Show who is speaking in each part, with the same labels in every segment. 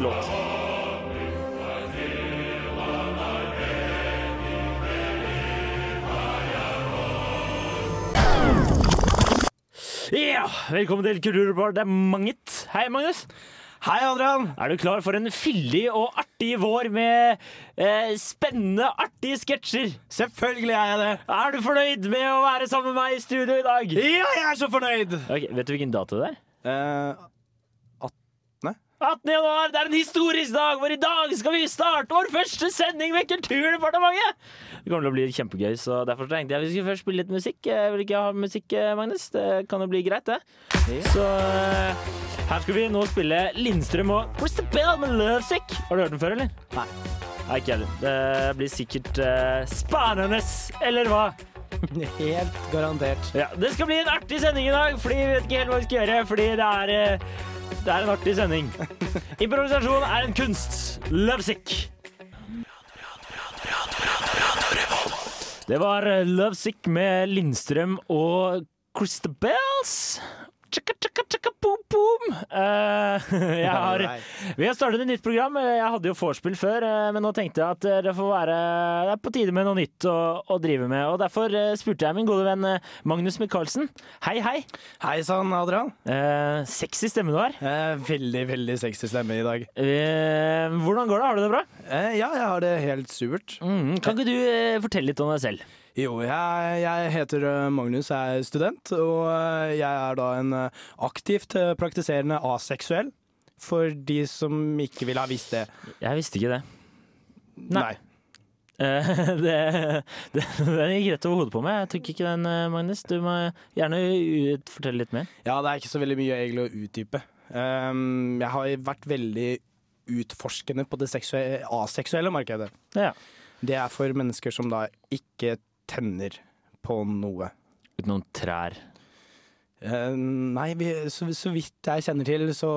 Speaker 1: låt. Ja, velkommen til Kulturbar. Det er Mangit. Hei, Magnus.
Speaker 2: Hei, Adrian!
Speaker 1: Er du klar for en fyldig og artig vår med eh, spennende, artige sketsjer?
Speaker 2: Selvfølgelig er jeg det.
Speaker 1: Er du fornøyd med å være sammen med meg i studio i dag?
Speaker 2: Ja, jeg er så fornøyd!
Speaker 1: Ok, Vet du hvilken dato det er?
Speaker 2: Eh,
Speaker 1: 18. januar, det er en historisk dag, hvor i dag skal vi starte vår første sending med Kulturdepartementet! Det kommer til å bli kjempegøy, så derfor tenkte jeg vi skulle først spille litt musikk. Jeg vil ikke ha musikk, eh, Magnus. Det kan jo bli greit, det. Så eh, her skal vi nå spille Lindstrøm og Where's the Bell med Lovesick. Har du hørt den før, eller?
Speaker 2: Nei.
Speaker 1: Nei, ikke heller. Det blir sikkert eh, spennende, eller hva?
Speaker 2: helt garantert.
Speaker 1: Ja, det skal bli en artig sending i dag, fordi vi vet ikke helt hva vi skal gjøre, fordi det er, eh, det er en artig sending. Improvisasjon er en kunst. Lovesick. Det var eh, Lovesick med Lindstrøm og Christabels. Tjekka, tjekka, tjekka, boom, boom. Eh, jeg har,
Speaker 2: Alright.
Speaker 1: vi har startet et nytt program. Jeg hadde jo vorspiel før, eh, men nå tenkte jeg at eh, det får være Det er på tide med noe nytt å, å drive med. Og derfor eh, spurte jeg min gode venn eh, Magnus Michaelsen. Hei, hei.
Speaker 2: Hei sann, Adrian.
Speaker 1: Eh, sexy stemme du har.
Speaker 2: Eh, veldig, veldig sexy stemme i dag.
Speaker 1: Eh, hvordan går det? Har du det bra?
Speaker 2: Eh, ja, jeg har det helt supert.
Speaker 1: Mm, kan ikke du eh, fortelle litt om deg selv?
Speaker 2: Jo, jeg, jeg heter eh, Magnus, jeg er student, og eh, jeg er da en eh, aktivt eh, praktiserende aseksuell. For de som ikke vil ha visst det.
Speaker 1: Jeg visste ikke det.
Speaker 2: Nei.
Speaker 1: Eh, det, det, den gikk rett over hodet på meg. Jeg tok ikke den, eh, Magnus. Du må gjerne ut, fortelle litt mer.
Speaker 2: Ja, det er ikke så veldig mye egentlig å utdype. Ehm, jeg har vært veldig utforskende på det seksue- aseksuelle markedet.
Speaker 1: Ja.
Speaker 2: Det er for mennesker som da ikke tenner på noe.
Speaker 1: Uten noen trær.
Speaker 2: Eh, nei, vi, så, så vidt jeg kjenner til, så,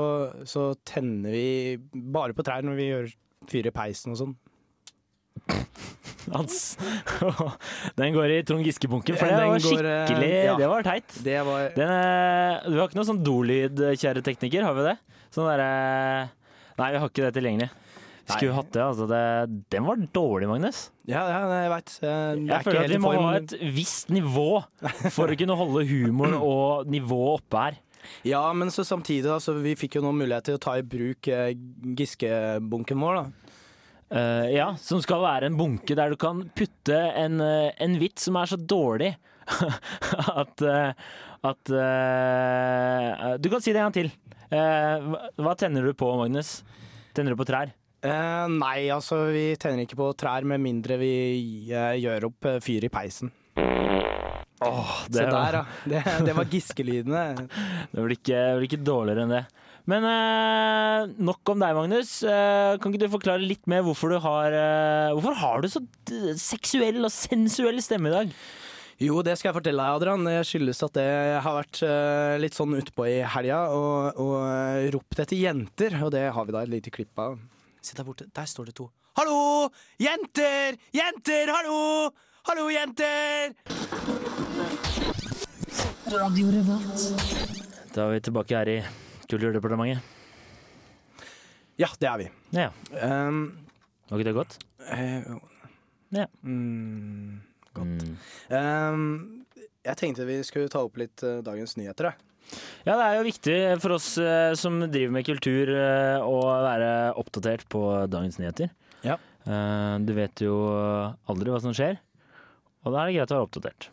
Speaker 2: så tenner vi bare på trær når vi gjør fyrer peisen og sånn.
Speaker 1: Hans. Den går i Trond Giske-bunken, for
Speaker 2: Ja,
Speaker 1: det
Speaker 2: den
Speaker 1: var
Speaker 2: går, eh,
Speaker 1: skikkelig
Speaker 2: ja.
Speaker 1: Det var teit.
Speaker 2: Det var
Speaker 1: Den, eh, du har ikke noe sånn dolyd, kjære tekniker? Har vi det? Sånn derre Nei, vi har ikke det tilgjengelig. Vi Skulle hatt det, altså. Det, den var dårlig, Magnus.
Speaker 2: Ja, ja nei, jeg Eh, veit.
Speaker 1: Jeg føler at vi må ha et visst nivå for å kunne holde humoren og nivået oppe her.
Speaker 2: Ja, men så samtidig, da, så vi fikk jo nå mulighet til å ta i bruk eh, Giske-bunken vår, da.
Speaker 1: Eh, ja, som skal være en bunke der du kan putte en, eh, en vits som er så dårlig at, eh, at eh, Du kan si det en gang til. Eh, hva- hva tenner du på, Magnus? Tenner du på trær?
Speaker 2: Eh, nei, altså, vi tenner ikke på trær med mindre vi eh, gjør opp eh, fyr i peisen.
Speaker 1: det,
Speaker 2: Se der, ja. Det, det var Giske-lydene.
Speaker 1: det blir ikke, det blir ikke dårligere enn det. Men eh, nok om deg, Magnus. Eh, kan ikke du forklare litt mer hvorfor du har eh, Hvorfor har du så d- seksuell og sensuell stemme i dag?
Speaker 2: Jo, det skal jeg fortelle deg, Adrian. Det skyldes at jeg har vært eh, litt sånn utpå i helga og, og eh, ropt etter jenter, og det har vi da et lite klipp av. Se der borte, der står det to. Hallo! Jenter! Jenter, hallo! Hallo, jenter!
Speaker 3: Radio Revolt.
Speaker 1: Da er vi tilbake her i Kulturdepartementet.
Speaker 2: Ja, det er vi.
Speaker 1: Ja,
Speaker 2: Um,
Speaker 1: Var ikke det godt?
Speaker 2: eh,
Speaker 1: Ja.
Speaker 2: mm, godt.
Speaker 1: Mm.
Speaker 2: Um, jeg tenkte vi skulle ta opp litt eh, dagens nyheter, jeg.
Speaker 1: Ja, det er jo viktig for oss eh, som driver med kultur eh, å være oppdatert på dagens nyheter.
Speaker 2: Ja.
Speaker 1: Eh, Du vet jo aldri hva som skjer, og da er det greit å være oppdatert.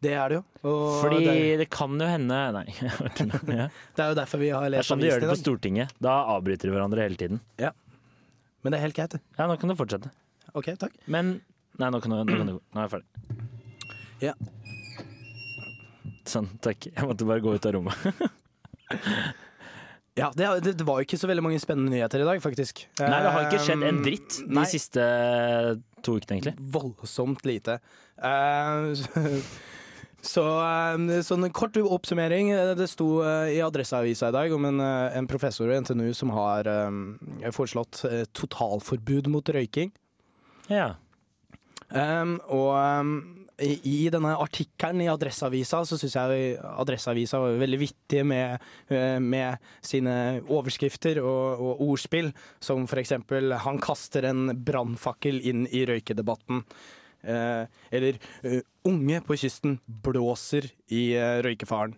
Speaker 2: Det er det jo. Og
Speaker 1: Fordi
Speaker 2: det, er,
Speaker 1: det kan jo hende Nei. jeg har ikke noe. Ja.
Speaker 2: det er jo derfor vi har
Speaker 1: Det er
Speaker 2: lest
Speaker 1: sånn de gjør
Speaker 2: avisen
Speaker 1: det
Speaker 2: i
Speaker 1: på
Speaker 2: dag.
Speaker 1: Stortinget. Da avbryter de hverandre hele tiden.
Speaker 2: Men det er helt greit, det.
Speaker 1: Ja, nå kan du fortsette.
Speaker 2: OK, takk.
Speaker 1: Men Nei, nå kan du, nå kan du gå. Nå er jeg ferdig.
Speaker 2: Ja.
Speaker 1: Sånn, takk. Jeg måtte bare gå ut av rommet.
Speaker 2: Ja, det, det, det var jo ikke så veldig mange spennende nyheter i dag, faktisk.
Speaker 1: Nei, det har ikke skjedd en
Speaker 2: Eh,
Speaker 1: dritt de
Speaker 2: nei.
Speaker 1: siste to ukene, egentlig.
Speaker 2: Voldsomt lite. Eh, så- så eh, sånn en kort oppsummering. Eh, Det sto eh, i Adresseavisa i dag om en, eh, en professor ved NTNU som har eh, foreslått eh, totalforbud mot røyking.
Speaker 1: Ja.
Speaker 2: Eh, Ehm, og i, i denne artikkelen i Adresseavisa, så syns jeg Adresseavisa var jo veldig vittig med, eh, med sine overskrifter og, og ordspill, som for eksempel 'Han kaster en brannfakkel inn i røykedebatten'. Eh, eller eh, 'Unge på kysten blåser i eh, røykefaren'.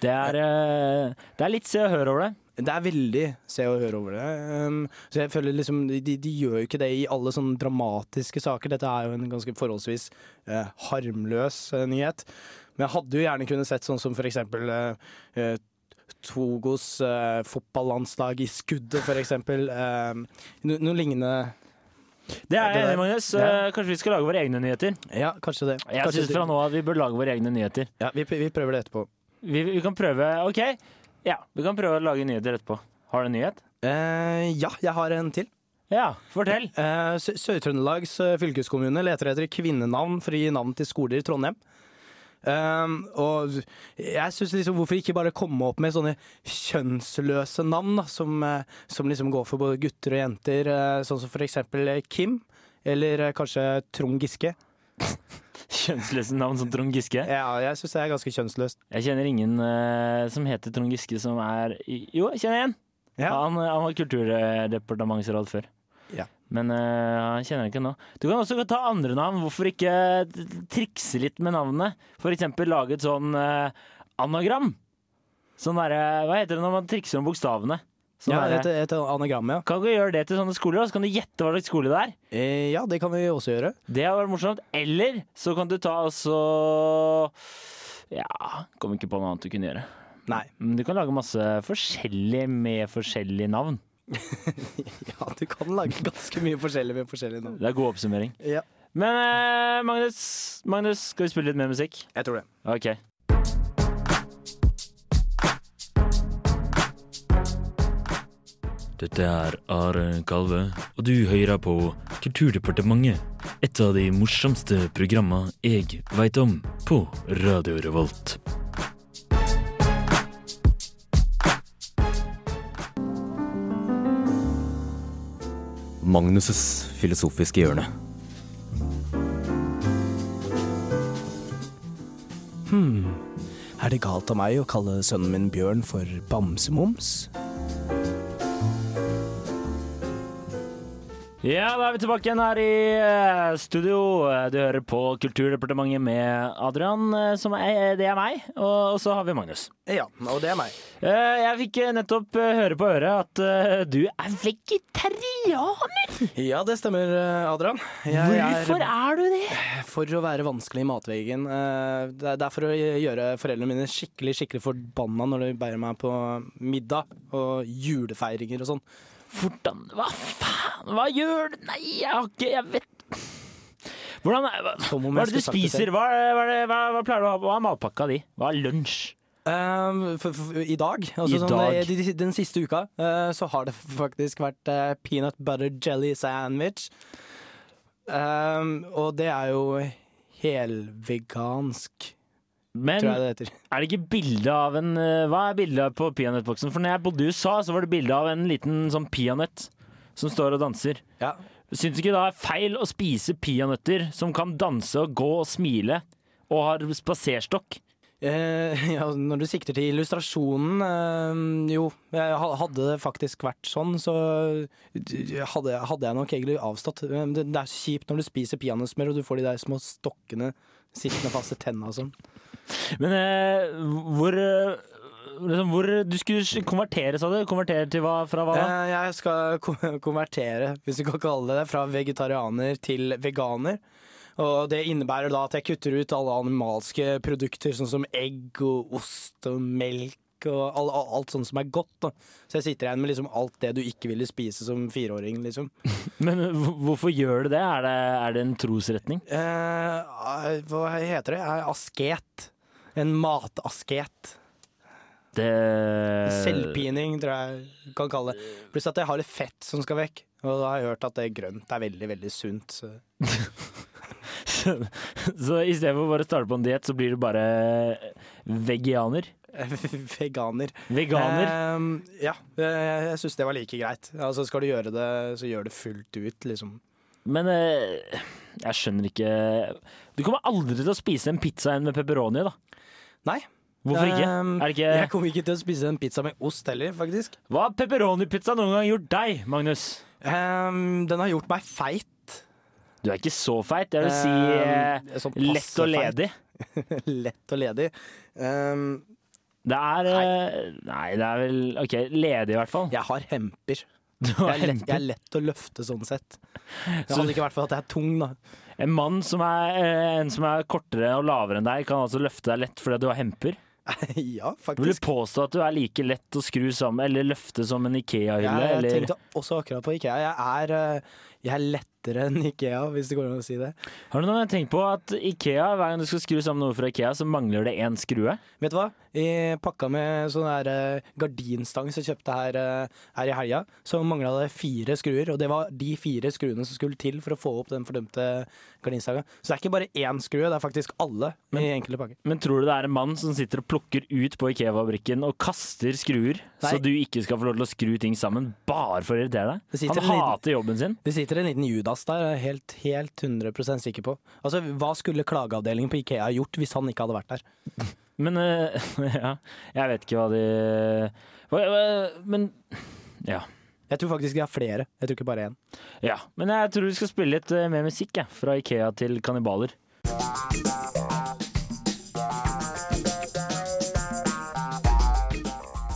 Speaker 1: Det er, eh, det er litt se og hør over det.
Speaker 2: Det er veldig se og hør over det. Um, så jeg føler liksom de, de de gjør jo ikke det i alle sånne dramatiske saker. Dette er jo en ganske forholdsvis eh, harmløs eh, nyhet. Men jeg hadde jo gjerne kunnet sett sånn som for eksempel eh, eh, Togos eh, fotballandslag i skuddet, for eksempel. Eh, no, noe lignende.
Speaker 1: Det er
Speaker 2: Det
Speaker 1: jeg
Speaker 2: der.
Speaker 1: enig i, Magnus.
Speaker 2: Ja.
Speaker 1: Eh, Kanskje vi skal lage våre egne nyheter?
Speaker 2: Ja, kanskje det.
Speaker 1: Jeg
Speaker 2: Kanskje
Speaker 1: synes
Speaker 2: det-
Speaker 1: fra nå av vi bør lage våre egne nyheter.
Speaker 2: ja, vi, vi prøver det etterpå.
Speaker 1: Vi, vi kan prøve OK. Ja, vi kan prøve å lage nyheter etterpå. Har du en nyhet?
Speaker 2: Eh, ja, jeg har en til.
Speaker 1: Ja, fortell.
Speaker 2: Eh, Sø- Sør-Trøndelags eh, fylkeskommune leter etter kvinnenavn for å gi navn til skoler i Trondheim. Ehm, og jeg synes liksom Hvorfor ikke bare komme opp med sånne kjønnsløse navn, da, som, eh, som liksom går for både gutter og jenter, eh, sånn som for eksempel eh, Kim, eller eh, kanskje Trond Giske.
Speaker 1: Kjønnsløse navn som Trond Giske.
Speaker 2: Ja, jeg syns det er ganske kjønnsløst.
Speaker 1: Jeg kjenner ingen eh, som heter Trond Giske som er Jo, jeg kjenner en.
Speaker 2: Ja.
Speaker 1: Han, han var kulturdepartementsråd før.
Speaker 2: Ja.
Speaker 1: Men eh, han kjenner jeg ikke nå. Du kan også ta andre navn. Hvorfor ikke eh, trikse litt med navnene? For eksempel lage et sånn eh, anagram. Sånn derre Hva heter det når man trikser om bokstavene? Sånn
Speaker 2: Ja,
Speaker 1: derre-
Speaker 2: et, et anagram, ja.
Speaker 1: Kan du gjøre det til sånne skoler, og så kan du gjette hva slags skole det er?
Speaker 2: Eh, ja, det kan vi også gjøre.
Speaker 1: Det hadde vært morsomt. Eller så kan du ta altså Ja, kom ikke på noe annet du kunne gjøre.
Speaker 2: Nei.
Speaker 1: Men Mm, du kan lage masse forskjellig med forskjellige navn.
Speaker 2: Ja, du kan lage ganske mye forskjellig med forskjellige navn.
Speaker 1: Det er god oppsummering.
Speaker 2: Ja,
Speaker 1: Men eh, Magnus, Magnus, skal vi spille litt mer musikk?
Speaker 2: jeg tror det.
Speaker 1: Ok.
Speaker 4: Dette er Are Kalve, og du hører på Kulturdepartementet. Et av de morsomste programma jeg veit om på Radio Revolt.
Speaker 5: Magnus' filosofiske hjørne.
Speaker 2: Er det galt av meg å kalle sønnen min Bjørn for bamsemums?
Speaker 1: Ja, da er vi tilbake igjen her i eh, studio. Du hører på Kulturdepartementet med Adrian, eh, som er, det er meg, og, og så har vi Magnus.
Speaker 2: Ja, og det er meg.
Speaker 1: Eh, Jeg fikk eh, nettopp eh, høre på øret at eh, du er vegetarianer!
Speaker 2: Ja, det stemmer, eh, Adrian. Jeg
Speaker 1: Hvorfor er du det?
Speaker 2: er for å være vanskelig i matveggen. Eh, Det er- det er for å gjøre foreldrene mine skikkelig skikkelig forbanna når de bærer meg på middag og julefeiringer og sånn.
Speaker 1: Hvordan Hva faen? Hva gjør du? Nei, jeg har ikke Jeg vet Hvordan er, hva,
Speaker 2: Som om
Speaker 1: hva
Speaker 2: jeg
Speaker 1: er det du
Speaker 2: skulle sagt det
Speaker 1: spiser?
Speaker 2: selv.
Speaker 1: Hva, er- hva, er det- hva, hva pleier du å ha? Hva er matpakka di? Hva er lunsj?
Speaker 2: Eh, for, for, I dag, altså
Speaker 1: I
Speaker 2: sånn,
Speaker 1: dag.
Speaker 2: eh, de- de- den siste uka, eh, så har det faktisk vært eh, peanut butter jelly sandwich. Um, og det er jo helvegansk,
Speaker 1: Men
Speaker 2: tror jeg det heter.
Speaker 1: er det ikke bilde av en eh, Hva er bildet på peanøttboksen? For når jeg bodde i USA, så var det bilde av en liten sånn peanøtt som står og danser.
Speaker 2: Ja.
Speaker 1: Syns du ikke da er feil å spise peanøtter som kan danse og gå og smile og har spaserstokk?
Speaker 2: Eh, ja, når du sikter til illustrasjonen eh, Jo, jeg ha- hadde det faktisk vært sånn, så eh, hadde, jeg- hadde jeg nok egentlig avstått. Eh, Det, det er kjipt når du spiser peanøttsmør og du får de der små stokkene sittende fast i tenna og sånn.
Speaker 1: Men eh, hvor eh, liksom, Hvor Du skulle s- konvertere, sa du? Konvertere til hva, fra hva da?
Speaker 2: Eh, jeg skal ko- konvertere, hvis du kan kalle det det, fra vegetarianer til veganer. Og det innebærer da at jeg kutter ut alle animalske produkter, sånn som egg og ost og melk. Og all, all- alt sånt som er godt. Da. Så jeg sitter igjen med liksom alt det du ikke ville spise som fireåring. Liksom.
Speaker 1: Men hvor- hvorfor gjør du det? Er det, er det en trosretning?
Speaker 2: Eh, hva heter det? Eh, Asket. En matasket.
Speaker 1: Det
Speaker 2: Selvpining, tror jeg kan kalle det. Pluss at jeg har litt fett som skal vekk. Og da har jeg hørt at det grønt er veldig, veldig sunt. Så.
Speaker 1: Så i stedet for å bare starte på en diett, så blir du bare vegianer?
Speaker 2: Veganer.
Speaker 1: Veganer?
Speaker 2: Ehm, ja, eh, jeg syns det var like greit. Altså, skal du gjøre det, så gjør det fullt ut, liksom.
Speaker 1: Men eh, Jeg skjønner ikke Du kommer aldri til å spise en pizza igjen med pepperoni, da.
Speaker 2: Nei.
Speaker 1: Hvorfor ikke?
Speaker 2: Ehm,
Speaker 1: Er det
Speaker 2: Jeg
Speaker 1: ikke
Speaker 2: kommer ikke til å spise en pizza med ost heller, faktisk.
Speaker 1: Hva har pepperonipizza noen gang gjort deg, Magnus?
Speaker 2: Ehm, den har gjort meg feit.
Speaker 1: Du er ikke så feit. Jeg vil si
Speaker 2: Ehm,
Speaker 1: eh,
Speaker 2: sånn
Speaker 1: lett og
Speaker 2: passe
Speaker 1: ledig.
Speaker 2: feit. lett og ledig. Ehm,
Speaker 1: Det er eh, Nei, det er vel OK, ledig i hvert fall.
Speaker 2: jeg har hemper.
Speaker 1: Du
Speaker 2: Jeg
Speaker 1: har
Speaker 2: er, lett,
Speaker 1: hemper.
Speaker 2: jeg er lett å løfte sånn sett. Det
Speaker 1: Så-
Speaker 2: hadde ikke vært for at jeg er tung, da.
Speaker 1: En mann som er, eh, en som er kortere og lavere enn deg, kan altså løfte deg lett fordi du har hemper.
Speaker 2: ja,
Speaker 1: Vil du
Speaker 2: faktisk.
Speaker 1: påstå at du er like lett å skru sammen eller løfte som en
Speaker 2: Jeg,
Speaker 1: Ikea-hylle?
Speaker 2: jeg
Speaker 1: eller-
Speaker 2: tenkte også akkurat på Ikea. Jeg er, eh, jeg er lettere enn Ikea, hvis det går an å si det.
Speaker 1: Har du noen tenkt på at Ikea, hver gang du skal skru sammen noe fra Ikea, så mangler det én skrue?
Speaker 2: Vet du hva? I pakka med sånn her eh, gardinstang som jeg kjøpte her, eh, her i helga, så mangla det fire skruer. Og det var de fire skruene som skulle til for å få opp den fordømte gardinstanga. Så det er ikke bare én skrue, det er faktisk alle i enkelte pakker.
Speaker 1: Men tror du det er en mann som sitter og plukker ut på Ikea-fabrikken og kaster skruer,
Speaker 2: Nei.
Speaker 1: så du ikke skal få lov til å skru ting sammen bare for å irritere deg?
Speaker 2: Det sitter
Speaker 1: Han
Speaker 2: en liten-
Speaker 1: hater jobben sin.
Speaker 2: Det sitter en liten Judas der, jeg er helt, helt 100 sikker på. Altså, Hva skulle klageavdelingen på Ikea gjort hvis han ikke hadde vært der?
Speaker 1: Men eh, ja, jeg vet ikke hva de hva, hva, Men ja.
Speaker 2: Jeg tror faktisk de har flere, jeg tror ikke bare én.
Speaker 1: ja. Men jeg tror vi skal spille litt eh, mer musikk, jeg. Fra Ikea til kannibaler.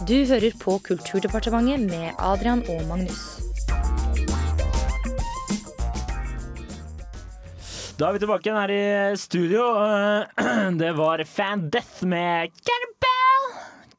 Speaker 5: Du hører på Kulturdepartementet med Adrian og Magnus.
Speaker 1: Da er vi tilbake igjen her i studio. Eh, Det var Fan Death med Cannibal.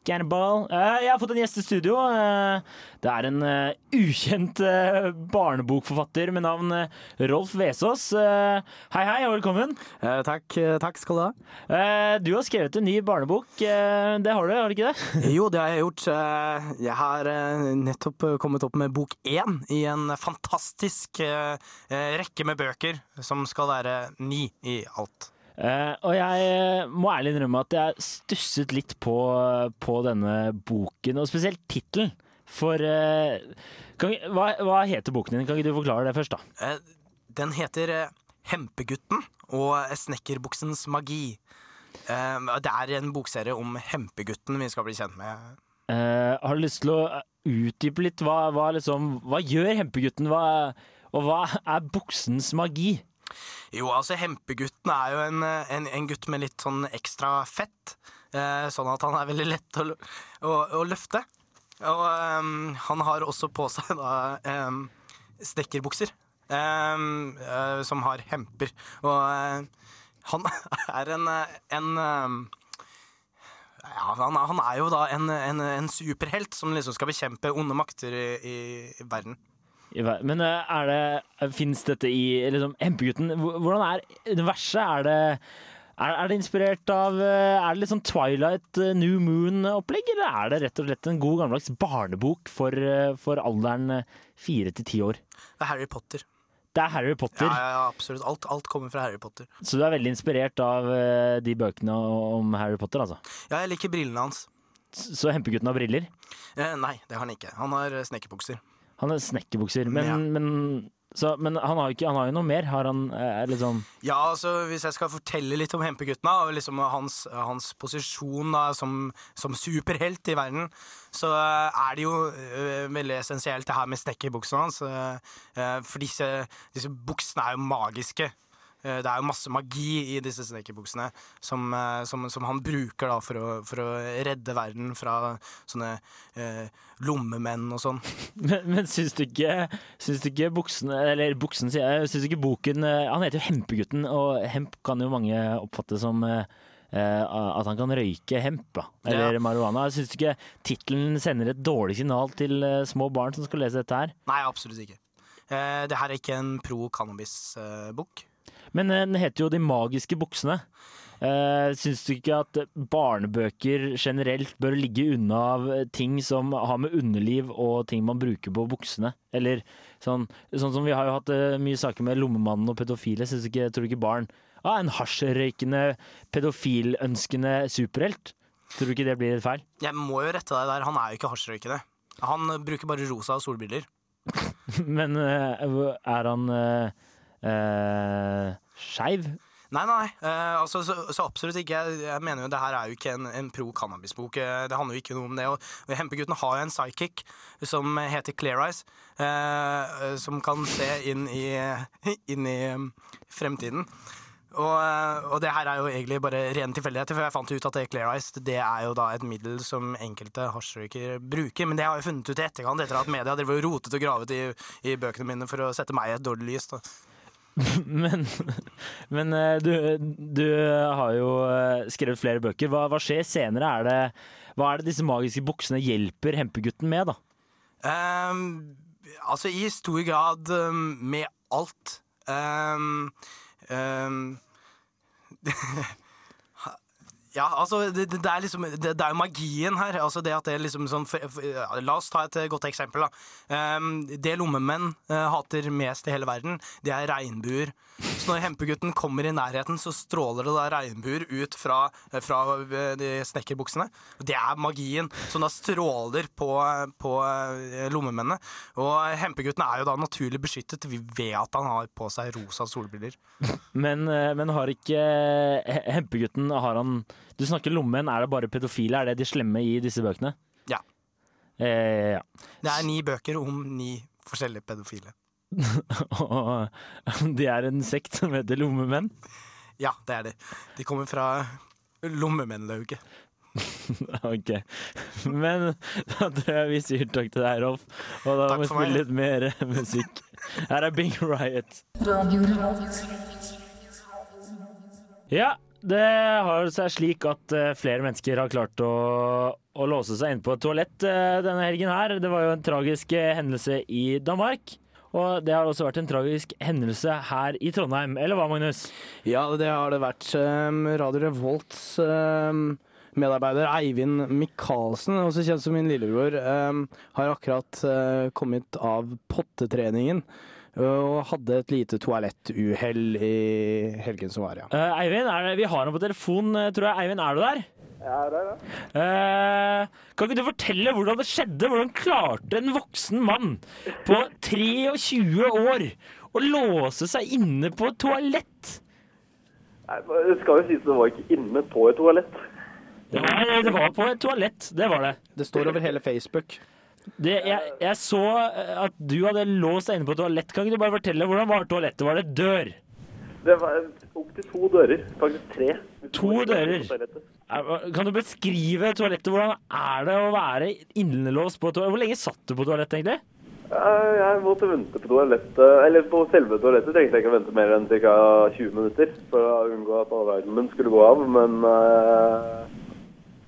Speaker 1: Cannibal. Eh, Jeg har fått en gjest i studio. Eh, Det er en eh, ukjent eh, barnebokforfatter med navn eh, Rolf Vesaas. Eh, Hei, hei, og velkommen.
Speaker 2: Eh, takk, takk skal du ha.
Speaker 1: Eh, Du har skrevet en ny barnebok. Eh, Det har du, har du ikke det?
Speaker 2: Jo, det har jeg gjort. Eh, Jeg har eh, nettopp eh, kommet opp med bok én i en fantastisk eh, eh, rekke med bøker, som skal være ni i alt.
Speaker 1: Eh, og jeg eh, må ærlig innrømme at jeg stusset litt på, på denne boken, og spesielt tittelen. For eh, kan, vi- hva, hva heter boken din? Kan ikke du forklare det først, da?
Speaker 2: Eh, Den heter eh, Hempegutten og eh, snekkerbuksens magi. Eh, Det er en bokserie om hempegutten vi skal bli kjent med.
Speaker 1: Eh, har du lyst til å utdype litt? Hva, hva, liksom, hva gjør Hempegutten? Hva, og hva er buksens magi?
Speaker 2: Jo, altså Hempegutten er jo en, eh, en, en gutt med litt sånn ekstra fett, eh, sånn at han er veldig lett å, lø- å, å løfte. Og ehm, han har også på seg da ehm, snekkerbukser, ehm, eh, som har hemper. Og eh, han er en, eh, en ehm, ja, han, er- han er jo da en, en, en superhelt som liksom skal bekjempe onde makter i, i verden.
Speaker 1: I ver- Men eh, er det Fins dette i liksom, Hempegutten? Hvor- Hvordan er universet? Er det er, er det inspirert av eh, Er det litt sånn Twilight eh, New Moon-opplegg? Eller er det rett og slett en god gammeldags barnebok for, eh, for alderen eh, fire til ti år?
Speaker 2: Det er Harry Potter.
Speaker 1: Det er Harry
Speaker 2: Ja,
Speaker 1: Potter,
Speaker 2: ja, ja absolutt. Alt, alt kommer fra Harry Potter.
Speaker 1: så du er veldig inspirert av eh, de bøkene om Harry Potter, altså?
Speaker 2: Ja, jeg liker brillene hans.
Speaker 1: S- Så Hempegutten har briller?
Speaker 2: Eh, nei, det har han ikke. Han har eh, snekkerbukser.
Speaker 1: Han har snekkerbukser, men,
Speaker 2: Ja.
Speaker 1: men, så, men han, har jo ikke, han har jo noe mer. Har han eh, er litt sånn
Speaker 2: Ja, altså Hvis jeg skal fortelle litt om Hempeguttene og liksom hans, hans posisjon da, som, som superhelt i verden, så eh, er det jo eh, veldig essensielt det her med snekkerbuksene hans. eh, eh, for disse, disse buksene er jo magiske. Eh, det er jo masse magi i disse snekkerbuksene som, eh, som, som han bruker da, for, å, for å redde verden fra sånne eh, lommemenn og sånn.
Speaker 1: Men, men syns du ikke Syns du ikke buksene Eller buksen, sier jeg. Syns du ikke boken eh, Han heter jo Hempegutten, og hemp kan jo mange oppfatte som eh, eh, at han kan røyke hemp, da. Eller
Speaker 2: Ja.
Speaker 1: marihuana. Syns du ikke tittelen sender et dårlig signal til eh, små barn som skal lese dette her?
Speaker 2: Nei, absolutt ikke. Eh, det her er ikke en eh, pro cannabis-bok.
Speaker 1: Men eh, den heter jo De magiske buksene. Uh, syns du ikke at barnebøker generelt bør ligge unna av ting som har med underliv og ting man bruker på buksene? Eller sånn, sånn som vi har jo hatt eh, mye saker med lommemannen og pedofile. Syns du ikke, tror du ikke barn ah, En hasjrøykende, pedofilønskende superhelt? Tror du ikke det blir feil?
Speaker 2: Jeg må jo rette deg der, han er jo ikke hasjrøykende. Han eh, bruker bare rosa og solbriller.
Speaker 1: Men eh, er han eh, eh, skeiv.
Speaker 2: Nei, nei. eh, altså, så, så absolutt ikke. Jeg, jeg mener jo det her er jo ikke en, en pro cannabis-bok. eh, det handler jo ikke noe om det. Og, og Hempegutten har jo en psychic som heter Clear Eyes, eh, eh, som kan se inn i, inn i eh, fremtiden. Og, eh, og det her er jo egentlig bare ren tilfeldighet, for jeg fant jo ut at det Clear Eyes det er jo da et middel som enkelte hasjrøykere bruker. Men det har jeg funnet ut i etterkant, etter at media drev og rotet og gravet i, i bøkene mine for å sette meg i et dårlig lys. Da.
Speaker 1: Men, men eh, du, du har jo eh, skrevet flere bøker. Hva, hva skjer senere? Er det, hva er det disse magiske buksene hjelper hempegutten med, da?
Speaker 2: Ehm, altså i stor grad ehm, med alt. Ehm, ehm, ja, altså det, det, det er liksom det, det er jo magien her. Altså det at det er liksom sånn for, for, ja, La oss ta et eh, godt eksempel, da. Ehm, det lommemenn eh, hater mest i hele verden, det er regnbuer. Så når hempegutten kommer i nærheten, så stråler det da regnbuer ut fra, eh, fra eh, de snekkerbuksene. Og Det er magien som da stråler på, på eh, lommemennene. Og hempegutten er jo da naturlig beskyttet Vi ved at han har på seg rosa solbriller.
Speaker 1: Men, eh, men har ikke eh, he- hempegutten har han, Du snakker lommen, er det bare pedofile? Er det de slemme i disse bøkene?
Speaker 2: Ja.
Speaker 1: Eh, ja.
Speaker 2: Det er ni bøker om ni forskjellige pedofile.
Speaker 1: Og de er en sekt som heter Lommemenn.
Speaker 2: Ja, det er det. De kommer fra lommemennlauget.
Speaker 1: Ok. Men da tror jeg vi sier takk til deg, Rolf. Og da må
Speaker 2: Takk
Speaker 1: vi
Speaker 2: for meg.
Speaker 1: spille litt mer eh, musikk. Her er Big Riot.
Speaker 3: Radio Revolt.
Speaker 1: Ja, det har seg slik at eh, flere mennesker har klart å, å låse seg inn på et toalett eh, denne helgen her. Det var jo en tragisk eh, hendelse i Danmark. Og det har også vært en tragisk hendelse her i Trondheim. Eller hva, Magnus?
Speaker 2: Ja, det har det vært. Um, Radio Revolts um, medarbeider Eivind Michaelsen, også kjent som min lillebror, um, har akkurat uh, kommet av pottetreningen og hadde et lite toalettuhell i helgen som var, ja.
Speaker 1: Eh, Eivind, er det, vi har ham på telefon, eh, tror jeg. Eivind, er du der? Eh, kan ikke du fortelle hvordan det skjedde? Hvordan klarte en voksen mann på 23 år å låse seg inne på et toalett?
Speaker 6: Nei, men Det skal jo sies det var ikke inne på et toalett.
Speaker 1: Det var, det var på et toalett, det var det.
Speaker 2: Det står over hele Facebook.
Speaker 1: det jeg, jeg så eh, at du hadde låst deg inne på et toalett. Kan ikke du bare fortelle hvordan var toalettet? Var det dør?
Speaker 6: Det var opptil to dører. Faktisk tre.
Speaker 1: To dører?
Speaker 6: Toalettet.
Speaker 1: Er- Kan du beskrive toalettet? Hvordan er det å være innelåst på et toalett? Hvor lenge satt du på toalettet, egentlig?
Speaker 6: Eh, Jeg måtte vente på toalettet Eller på selve toalettet trengte jeg ikke vente mer enn ca. 20 minutter for å unngå at avvergen min skulle gå av, men eh,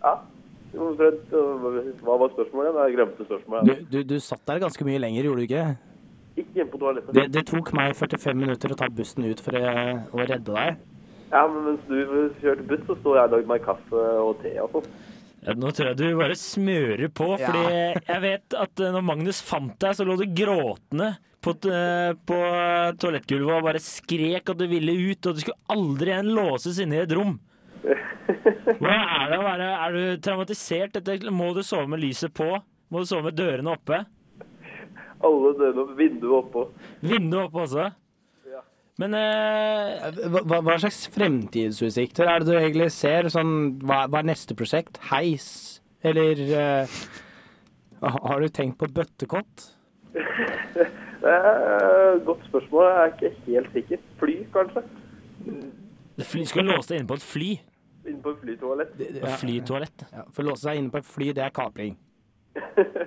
Speaker 6: Ja. Omtrent, eh, Hva var spørsmålet? igjen? Jeg glemte spørsmålet.
Speaker 2: Du,
Speaker 6: igjen.
Speaker 2: du, du satt der ganske mye lenger, gjorde du ikke?
Speaker 6: Ikke inne på toalettet.
Speaker 2: Det, det tok meg 45 minutter å ta bussen ut for å, å redde deg.
Speaker 6: Ja, men mens du kjørte buss, så sto jeg og lagde meg kaffe og te og sånn.
Speaker 1: Ja, nå tror jeg du bare smører på, fordi jeg vet at eh, når Magnus fant deg, så lå du gråtende på, t- eh, på toalettgulvet og bare skrek at du ville ut, og du skulle aldri igjen låses inne i et rom. Hvordan er det å være Er du traumatisert? Dette, må du sove med lyset på? Må du sove med dørene oppe?
Speaker 6: Alle dørene opp, vinduet oppå.
Speaker 1: Vinduet oppe også? Men eh,
Speaker 2: Hva, hva- hva slags fremtidsutsikter er det du egentlig ser? Sånn, hva, hva er neste prosjekt? Heis? Eller eh, ha- har du tenkt på bøttekott?
Speaker 6: Eh, Godt spørsmål. Jeg er ikke helt sikker. Fly, kanskje?
Speaker 1: fly, skulle låse deg inne på et fly?
Speaker 6: Inne på et flytoalett.
Speaker 1: Et flytoalett.
Speaker 2: Ja, for å låse seg inne på et fly, det er kapring.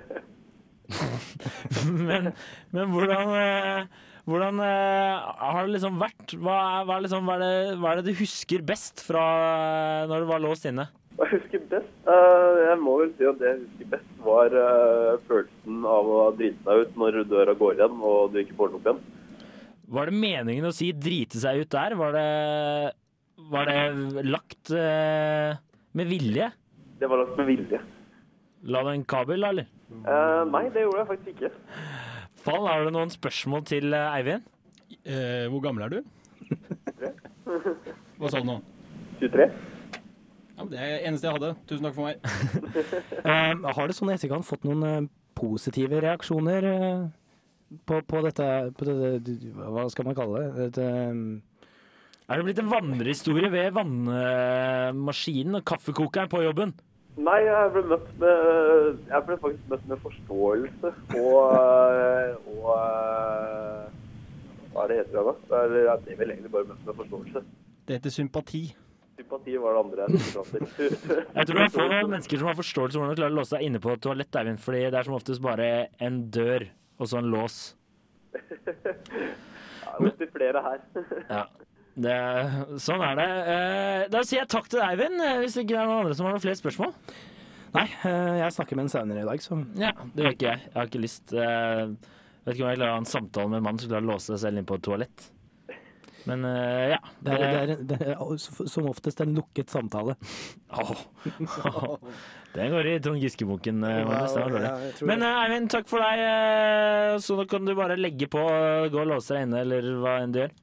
Speaker 1: Men, men hvordan, eh, hvordan eh, har det liksom vært? Hva, er- hva, er liksom, hva, er det, hva er det du husker best fra eh, når du var låst inne?
Speaker 6: Hva jeg husker best? Eh, jeg må vel si at det jeg husker best, var eh, følelsen av å ha driti deg ut når døra går igjen og du ikke får den opp igjen.
Speaker 1: Var det meningen å si 'drite seg ut' der? Var det, var det lagt eh, med vilje?
Speaker 6: Det var lagt med vilje.
Speaker 1: La du en kabel, da, eller?
Speaker 6: Eh, nei, det gjorde jeg faktisk ikke.
Speaker 1: Fall, har du noen spørsmål til eh, Eivind?
Speaker 7: Eh, hvor gammel er du? Hva sa du nå?
Speaker 6: 23?
Speaker 7: Ja, men det er det eneste jeg hadde. Tusen takk for meg.
Speaker 2: Eh, har du sånn i etterkant fått noen eh, positive reaksjoner? eh, på, på dette, på dette Hva skal man kalle det? Dette, um,
Speaker 1: Er det blitt en vandrehistorie ved vannmaskinen og kaffekokeren på jobben?
Speaker 6: Nei, jeg ble møtt med Jeg ble faktisk møtt med forståelse og og eh, Hva er det heter det da? Det er, jeg ble vel egentlig bare møtt med forståelse.
Speaker 7: Det heter sympati.
Speaker 6: Sympati var det andre jeg skulle fram til.
Speaker 1: Jeg tror det er få mennesker som har forståelse for hvordan de klarer å låse seg inne på et toalett, Eivind, fordi det er som oftest bare en dør og så en lås.
Speaker 6: Det er opptil flere her.
Speaker 1: Ja. Det, sånn er det. Eh, Da sier jeg takk til deg, Eivind, eh, hvis ikke det er noen andre som har noen flere spørsmål.
Speaker 2: nei, eh, jeg snakker med en sauner i dag, så
Speaker 1: Ja, det gjør ikke jeg. Jeg har ikke lyst eh, Vet ikke om jeg klarer å ha en samtale med en mann som klarer å låse seg selv inn på et toalett. Men eh, ja.
Speaker 2: det er, det er, det er som oftest en lukket samtale.
Speaker 1: Åh. Den går i Trond Giske-bunken. eh, Magnus, den var dårlig.
Speaker 2: ja, jeg tror
Speaker 1: Men
Speaker 2: det.
Speaker 1: eh, Eivind, takk for deg. eh, Så nå kan du bare legge på, eh, gå og låse deg inne, eller hva enn du gjør.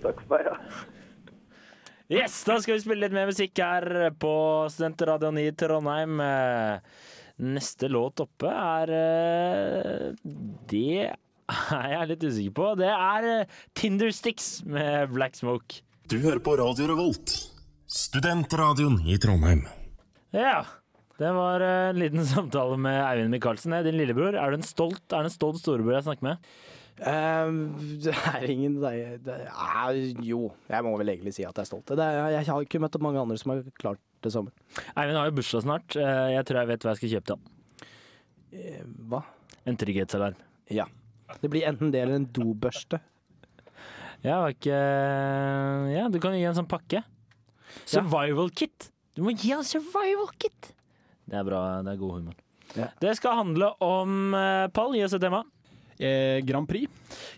Speaker 6: Takk for meg. Ja.
Speaker 1: Yes, da skal vi spille litt mer musikk her på Studentradioen i Trondheim. Eh, Neste låt oppe er eh, Det er jeg litt usikker på. Det er eh, Tinder Sticks med Black Smoke.
Speaker 8: Du hører på Radio Revolt, studentradioen i Trondheim.
Speaker 1: Ja. Det var eh, en liten samtale med Eivind Michaelsen, eh, din lillebror. Er du en stolt, er det en stolt storebror jeg snakker med?
Speaker 2: Eh, det er ingen det er, det er, Jo, jeg må vel egentlig si at jeg er stolt. Det er, jeg har ikke møtt mange andre som har klart det samme.
Speaker 1: Eivind har jo bursdag snart. Eh, Jeg tror jeg vet hva jeg skal kjøpe til han.
Speaker 2: Eh, Hva?
Speaker 1: En trygghetsalarm.
Speaker 2: Ja. Det blir enten det eller en dobørste.
Speaker 1: Ja, var ikke Ja, du kan jo gi en sånn pakke. Survival kit. Du må gi han survival kit. Det er bra. Det er god humor.
Speaker 2: Ja.
Speaker 1: Det skal handle om eh, Pall, gi oss et tema.
Speaker 7: Eh, Grand Prix.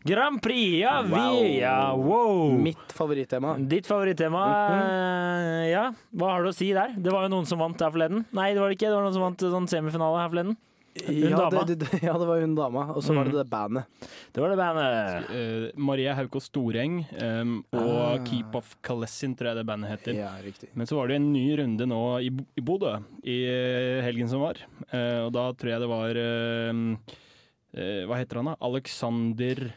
Speaker 1: Grand Prix, ja. Vi, ja wow.
Speaker 2: Mitt favorittema.
Speaker 1: Ditt favorittema, eh, ja. Hva har du å si der? Det var jo noen som vant her forleden. Nei, det var det ikke. Det var noen som vant sånn semifinale her forleden.
Speaker 2: Ja
Speaker 1: dama.
Speaker 2: det, det, det- ja, det var hun dama. Og så var det
Speaker 7: Mm.
Speaker 2: det bandet.
Speaker 1: Det var det bandet.
Speaker 7: Eh, Marie Haukås Storeng em, og
Speaker 2: Ah.
Speaker 7: Keep Off Kalessin, tror jeg det bandet heter.
Speaker 2: Ja, riktig.
Speaker 7: Men så var det en ny runde nå i, Bo- i Bodø i eh, helgen som var. Eh, og da tror jeg det var em, eh, Hva heter han, da? Alexander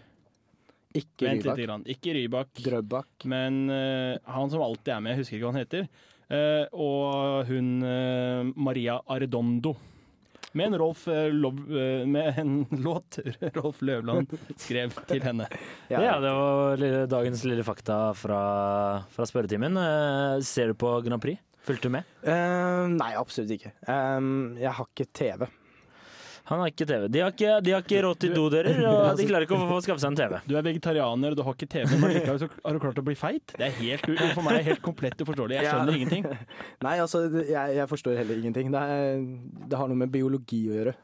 Speaker 2: Ikke
Speaker 7: Vent
Speaker 2: Rybak.
Speaker 7: litt. Grann. Ikke Rybak.
Speaker 2: Drøbak.
Speaker 7: Men eh, han som alltid er med, jeg husker ikke hva han heter. eh, og hun eh, Maria Arredondo. Med en, Rolf, eh, Lov, eh, med en låt Rolf Løvland skrev til henne.
Speaker 1: Ja, det var lille, dagens lille fakta fra, fra spørretimen. Eh, ser du på Grand Prix? Fulgte du med?
Speaker 2: Eh, nei, absolutt ikke. Eh, jeg har ikke TV.
Speaker 1: Han har ikke TV. De har ikke, de har ikke råd til dodører, og de klarer ikke å få skaffe seg en TV.
Speaker 7: Du er vegetarianer og du har ikke TV, men likevel så har du klart å bli feit? Det er helt, u- for meg er det helt komplett uforståelig. Jeg skjønner ingenting.
Speaker 2: Nei, altså, jeg, jeg forstår heller ingenting. Det, er, det har noe med biologi å gjøre.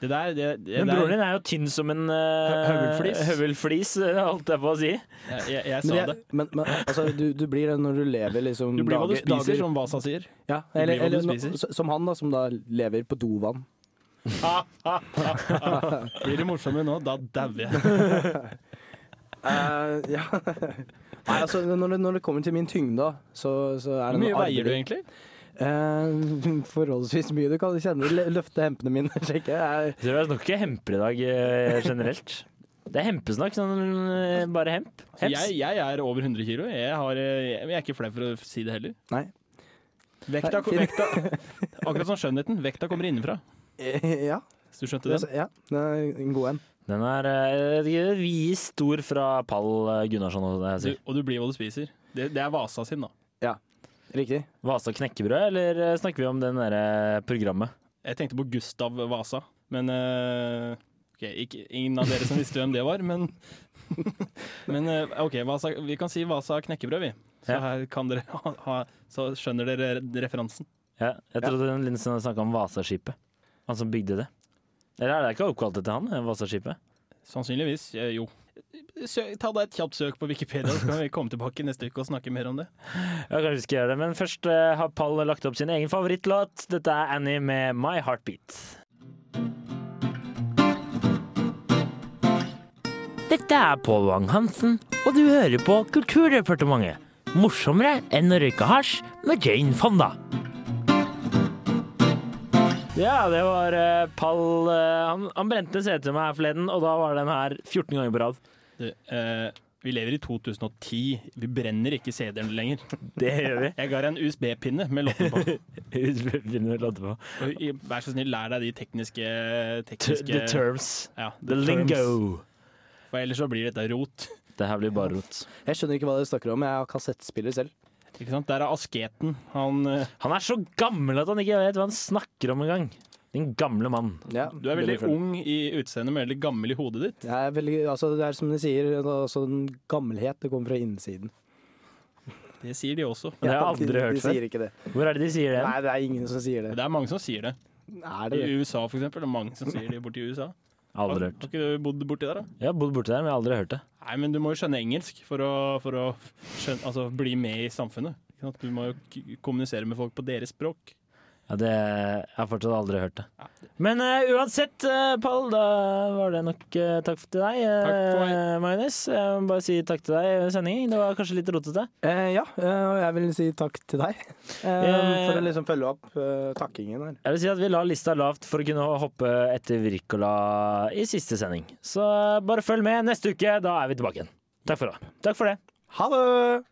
Speaker 7: Det der, det, det
Speaker 1: Men
Speaker 7: der
Speaker 1: broren din er jo tynn som en eh,
Speaker 7: Høvelflis.
Speaker 1: høvelflis, eh, holdt jeg på å si.
Speaker 7: jeg, jeg, jeg
Speaker 2: Men,
Speaker 7: sa
Speaker 2: jeg,
Speaker 7: det.
Speaker 2: men, men altså, du, du blir det når du lever liksom
Speaker 7: Du blir hva du
Speaker 2: dager-
Speaker 7: spiser,
Speaker 2: dager-
Speaker 7: som Vasa sier.
Speaker 2: ja,
Speaker 7: blir
Speaker 2: eller,
Speaker 7: hva du
Speaker 2: eller, no-
Speaker 7: spiser.
Speaker 2: s- Som han, da, som da lever på dovann.
Speaker 7: Blir det morsommere nå, da dauer jeg.
Speaker 2: Eh, ja. Nei, altså, når det, når det kommer til min tyngde, da, så, så er det
Speaker 7: Hvor mye
Speaker 2: noe
Speaker 7: veier du
Speaker 2: arbeid-
Speaker 7: egentlig?
Speaker 2: Eh, forholdsvis mye. Du kan kjenne lø- løfte hempene mine, sjekke. Jeg,
Speaker 1: Jeg tror jeg snakker ikke hemper i dag eh, generelt. Det er hempesnakk, sånn eh, bare hemp.
Speaker 7: Jeg,
Speaker 1: Hems.
Speaker 7: jeg er over 100 kilo. Jeg, har, eh, jeg jeg er ikke flau for å si det heller.
Speaker 2: nei.
Speaker 7: Vekta,
Speaker 2: Nei, fint.
Speaker 7: vekta, akkurat som skjønnheten. Vekta kommer innenfra.
Speaker 2: Eh, Ja,
Speaker 7: Hvis du skjønte
Speaker 2: det,
Speaker 7: den?
Speaker 2: ja, det er en god en.
Speaker 1: Den er uh, vid stor fra Pall eh, Gunnarsson og det jeg
Speaker 7: Du,
Speaker 1: sier.
Speaker 7: og du blir hva du spiser. Det, det er Vasa sin, da.
Speaker 2: Riktig.
Speaker 1: Vasa knekkebrød, eller eh, snakker vi om den derre eh, programmet?
Speaker 7: Jeg tenkte på Gustav Vasa, men eh, ok, ikke, Ingen av dere som visste hvem det var, men Men eh, OK, Vasa, vi kan si Vasa knekkebrød, vi. Så
Speaker 1: Ja.
Speaker 7: her kan dere ha, ha Så skjønner dere referansen.
Speaker 1: Ja, jeg trodde den Linsen hadde snakka om Vasaskipet. Han som bygde det. Eller er det ikke oppkalt etter han, eh, Vasaskipet?
Speaker 7: Sannsynligvis. eh, Jo. Sø, ta deg et kjapt søk på Wikipedia, så kan vi komme tilbake neste uke og snakke mer om det.
Speaker 1: Ja, kanskje vi skal gjøre det, men først eh, har Pall lagt opp sin egen favorittlåt. Dette er Annie med My Heartbeat. Dette er Pål Wang-Hansen, og du hører på Kulturdepartementet. Morsommere enn å røyke hasj med Jane Fonda. Ja, det var eh, Pall eh, han, han brente en CD til meg her forleden, og da var den her 14 ganger på rad.
Speaker 7: Du, eh, vi lever i 2010. Vi brenner ikke CD-en lenger.
Speaker 1: Det gjør vi.
Speaker 7: Jeg ga deg en USB-pinne med låtene på.
Speaker 1: Begynner å låte på.
Speaker 7: Og i- Vær så snill, lær deg de tekniske,
Speaker 1: T-
Speaker 7: tekniske
Speaker 1: The terms.
Speaker 7: Ja,
Speaker 1: The lingo.
Speaker 7: For ellers så blir dette rot.
Speaker 1: Det her blir bare rot.
Speaker 2: Jeg skjønner ikke hva dere snakker om. Jeg har kassettspiller selv.
Speaker 7: Ikke sant? Der er asketen. Han eh,
Speaker 1: Han er så gammel at han ikke vet hva han snakker om engang. Den gamle mann.
Speaker 2: Ja.
Speaker 7: Du er veldig
Speaker 1: Veldig føl-
Speaker 7: ung i utseendet, men veldig gammel i hodet ditt.
Speaker 2: Det er, veldig, altså, det er som de sier, det er altså, en gammelhet det kommer fra innsiden.
Speaker 7: Det sier de også.
Speaker 1: Det har jeg
Speaker 2: de-
Speaker 1: aldri hørt
Speaker 2: De sier
Speaker 1: før.
Speaker 2: ikke det.
Speaker 1: Hvor er det de sier det?
Speaker 2: Nei, det er ingen som sier det.
Speaker 7: Det er mange som sier det.
Speaker 2: Er det
Speaker 7: I
Speaker 2: det?
Speaker 7: USA, for eksempel. Det er mange som sier det borti USA.
Speaker 1: Aldri hørt.
Speaker 7: Har ikke du bodd borti der, da?
Speaker 1: Jeg har bodd borti der, men jeg har aldri hørt det.
Speaker 7: Nei, men du må jo skjønne engelsk for å, for å skjønne, altså, bli med i samfunnet. Ikke sant? Du må jo k- kommunisere med folk på deres språk.
Speaker 1: Ja, det jeg har fortsatt aldri hørt det. Men eh, uansett, eh, Pall, da var det nok eh, takk til deg,
Speaker 7: for
Speaker 1: uh,
Speaker 7: meg.
Speaker 1: Majones. Jeg må bare si takk til deg i sendingen. Det var kanskje litt rotete.
Speaker 2: Eh, ja, eh, og jeg vil si takk til deg. Eh, for å liksom følge opp eh, takkingen her.
Speaker 1: Jeg vil si at vi la lista lavt for å kunne hoppe etter Wirkola i siste sending. eh, Så bare følg med neste uke, da er vi tilbake igjen. Takk for, da. Takk for det.
Speaker 2: Ha det!